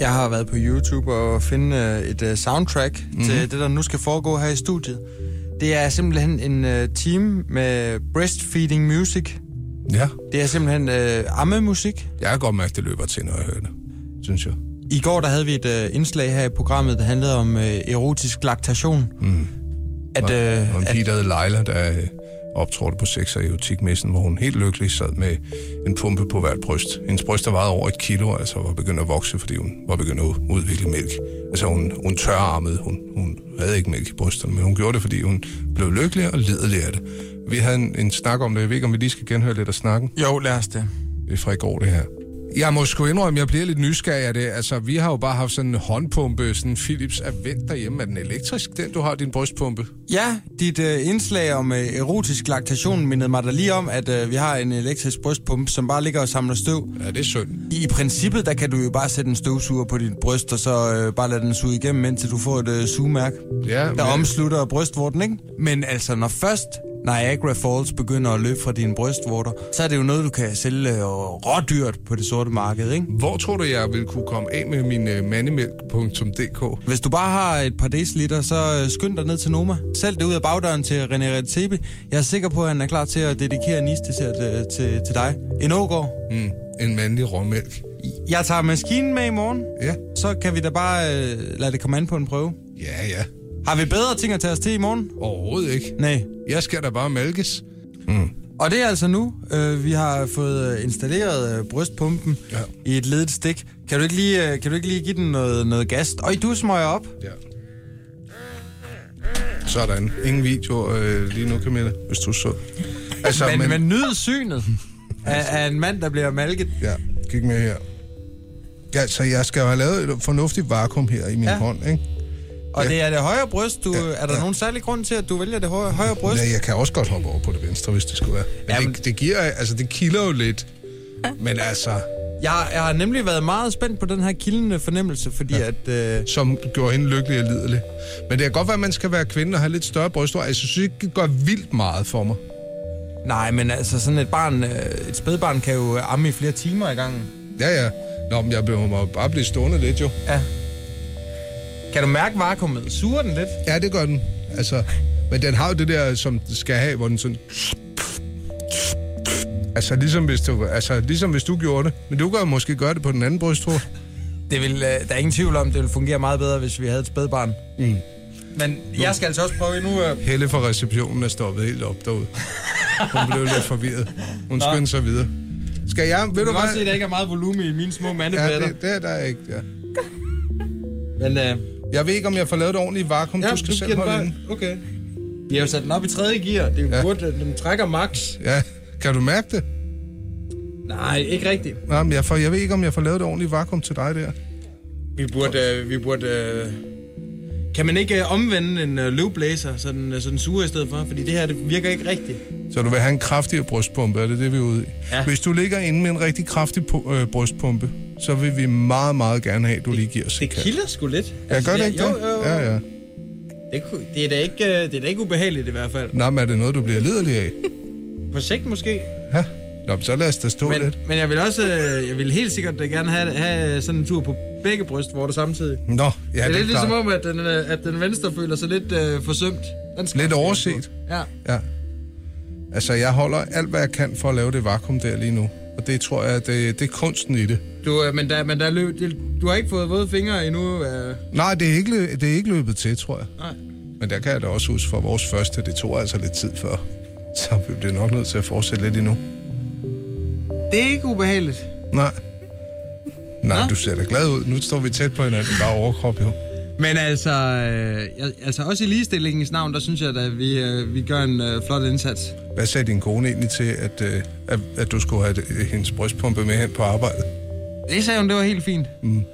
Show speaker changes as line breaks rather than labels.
Jeg har været på YouTube og finde øh, et øh, soundtrack mm-hmm. til det, der nu skal foregå her i studiet. Det er simpelthen en øh, time med breastfeeding music.
Ja,
Det er simpelthen øh, ammemusik.
jeg kan godt mærke, det løber til, når jeg hører det, synes jeg.
I går der havde vi et øh, indslag her i programmet, der handlede om øh, erotisk laktation. Mm. At, øh,
Og en
at
pige, der hed Leila, der øh, optrådte på sex- og erotikmessen, hvor hun helt lykkelig sad med en pumpe på hvert bryst. Hendes bryster vejede over et kilo, altså var begyndt at vokse, fordi hun var begyndt at udvikle mælk. Altså hun, hun tørarmede, hun, hun havde ikke mælk i brysterne, men hun gjorde det, fordi hun blev lykkelig og lidelig af det. Vi havde en, en snak om det, jeg ved ikke, om vi lige skal genhøre lidt af snakken.
jo, lad os det.
Det er Øh, fra i går, det her. Jeg må sgu indrømme, jeg bliver lidt nysgerrig af det. Altså, vi har jo bare haft sådan en håndpumpe, sådan en Philips Avent derhjemme. Er den elektrisk, den du har, din brystpumpe?
Ja, dit øh, indslag om øh, erotisk laktation mindede mig da lige om, at øh, vi har en elektrisk brystpumpe, som bare ligger og samler støv.
Ja, det er synd.
I princippet, der kan du jo bare sætte en støvsuger på dit bryst, og så øh, bare lade den suge igennem, indtil du får et øh, sugemærke,
Ja,
der
men-
omslutter brystvorten, ikke? Men altså, når først Niagara Falls begynder at løbe fra dine brystvorter, så er det jo noget, du kan sælge øh, rådyrt på det sorte marked, ikke?
Hvor tror du, jeg vil kunne komme af med min uh, mandemælk.dk?
Hvis du bare har et par deciliter, så øh, skynd dig ned til Noma. Sælg det ud af bagdøren til René Redtepe. Jeg er sikker på, at han er klar til at dedikere en isdessert øh, til, til dig. En ågård.
Mm, en mandlig råmælk.
Jeg tager maskinen med i morgen.
Ja,
Så kan vi da bare øh, lade det komme an på en prøve.
ja, ja.
Har vi bedre ting at tage os til i morgen?
Overhovedet ikke.
Nej.
Jeg skal da bare Hmm. malkes.
Og det er altså nu, øh, vi har fået øh, installeret øh, brystpumpen ja.
Ja.
i et ledet stik. Kan du ikke lige, øh, kan du ikke lige give den noget, noget gas? Øj, du smøger op.
Ja. Sådan. Ingen video øh, lige nu, Camilla, hvis du så. Altså,
Men, men, men nyd synet af, af en mand, der bliver malket.
Ja, kig med her. Ja, så jeg skal jo have lavet et fornuftigt vakuum her i min
Ja.
ja. hånd, ikke?
Og
Ja.
det er det højre bryst. Du,
Ja,
Er der
ja.
nogen særlig grund til, at du vælger det højre, højre bryst?
Ja, jeg kan også godt hoppe over på det venstre, hvis det skulle være. Men
Jamen-
det, det giver, altså det kilder jo lidt. Men altså,
Jeg, jeg har nemlig været meget spændt på den her kildende fornemmelse, fordi ja. at... Øh,
som gjorde hende lykkelig og lidelig. Men det kan godt være, at man skal være kvinde og have lidt større brystvor. Altså, jeg synes ikke, det gør vildt meget for mig.
nej, men altså sådan et barn, øh, et spædbarn kan jo amme i flere timer i gangen.
Ja, ja. Nå, men jeg behøver mig bare blive stående lidt, jo.
Ja. Kan du mærke vakuumet? Suger den lidt?
Ja, det gør den. Altså, men den har jo det der, som den skal have, hvor den sådan... Altså ligesom, hvis du, altså, ligesom hvis du gjorde det. Men du kan jo måske gøre det på den anden brysttur.
Det vil, øh, der er ingen tvivl om, det ville fungere meget bedre, hvis vi havde et spædbarn.
Mm.
Men jeg skal altså også prøve endnu. Øh...
Helle fra receptionen er stoppet helt op derude. Hun blev lidt forvirret. Hun skyndte sig videre. Skal jeg... Ved du
Du kan godt se, at
hvad?
der ikke er meget volumen i mine små
Ja,
mandepletter.
det, det er der ikke, ja.
Men øh,
Jeg ved ikke, om jeg får lavet et ordentligt vakuum.
ja,
du skal selv
giver den
holde
bare-
den.
Okay. Vi har jo sat den op i tredje gear. Det er jo ja.
Ja.
godt, at den trækker max.
Ja, kan du mærke det?
Nej, ikke rigtigt.
Nej, men jeg, får, jeg ved ikke, om jeg får lavet et ordentligt vakuum til dig der.
Vi burde... Øh, vi burde øh... Kan man ikke øh, omvende en øh, løvblæser, så den, øh, så den suger i stedet for? Fordi det her det virker ikke rigtigt.
Så du vil have en kraftigere brystpumpe, er det det, vi er ude i?
Ja.
Hvis du ligger inde med en rigtig kraftig pu- øh, brystpumpe, så vil vi meget, meget gerne have, at du lige giver os
Det
et kald.
kilder sgu lidt.
Ja, gør det
jeg-
ikke
jo,
det?
Jo, jo.
Ja, ja.
Det, kunne- det, er da ikke, øh, det er da ikke ubehageligt i hvert fald.
Nå, men er det noget, du bliver liderlig af?
På sigt måske.
Ja. Nå, men så lad os da stå men... lidt.
Men, men jeg vil også, øh, jeg vil helt sikkert øh, gerne have, have sådan en tur på begge brystvorter samtidig. Ja,
Nå, ja,
det er lidt
klart.
ligesom om, at den, øh, at den venstre føler sig lidt øh, forsømt. Den skal
Lidt
også
overset.
lige på. Ja.
Ja. Altså, jeg holder alt, hvad jeg kan for at lave det vakuum der lige nu. Og det tror jeg, det, det er kunsten i det.
Du, øh, men der, men der løb, det, du har ikke fået våde fingre endnu. Øh,
Nej, det er ikke, lø- det er ikke løbet til, tror jeg.
nej.
Men der kan jeg da også huske for vores første, det tog altså lidt tid før. Så vi bliver nok nødt til at fortsætte lidt endnu.
Det er ikke ubehageligt.
Nej. Nej,
Nå?
du ser da glad ud. Nu står vi tæt på hinanden, bare overkrop jo.
Men altså, øh, jeg- altså også i ligestillingens navn, der synes jeg, at vi, øh, vi gør en øh, flot indsats.
Hvad sagde din kone egentlig til, at, øh, at, at du skulle have øh, hendes brystpumpe med hen på arbejde?
Det sagde hun, det var helt fint.
Mm.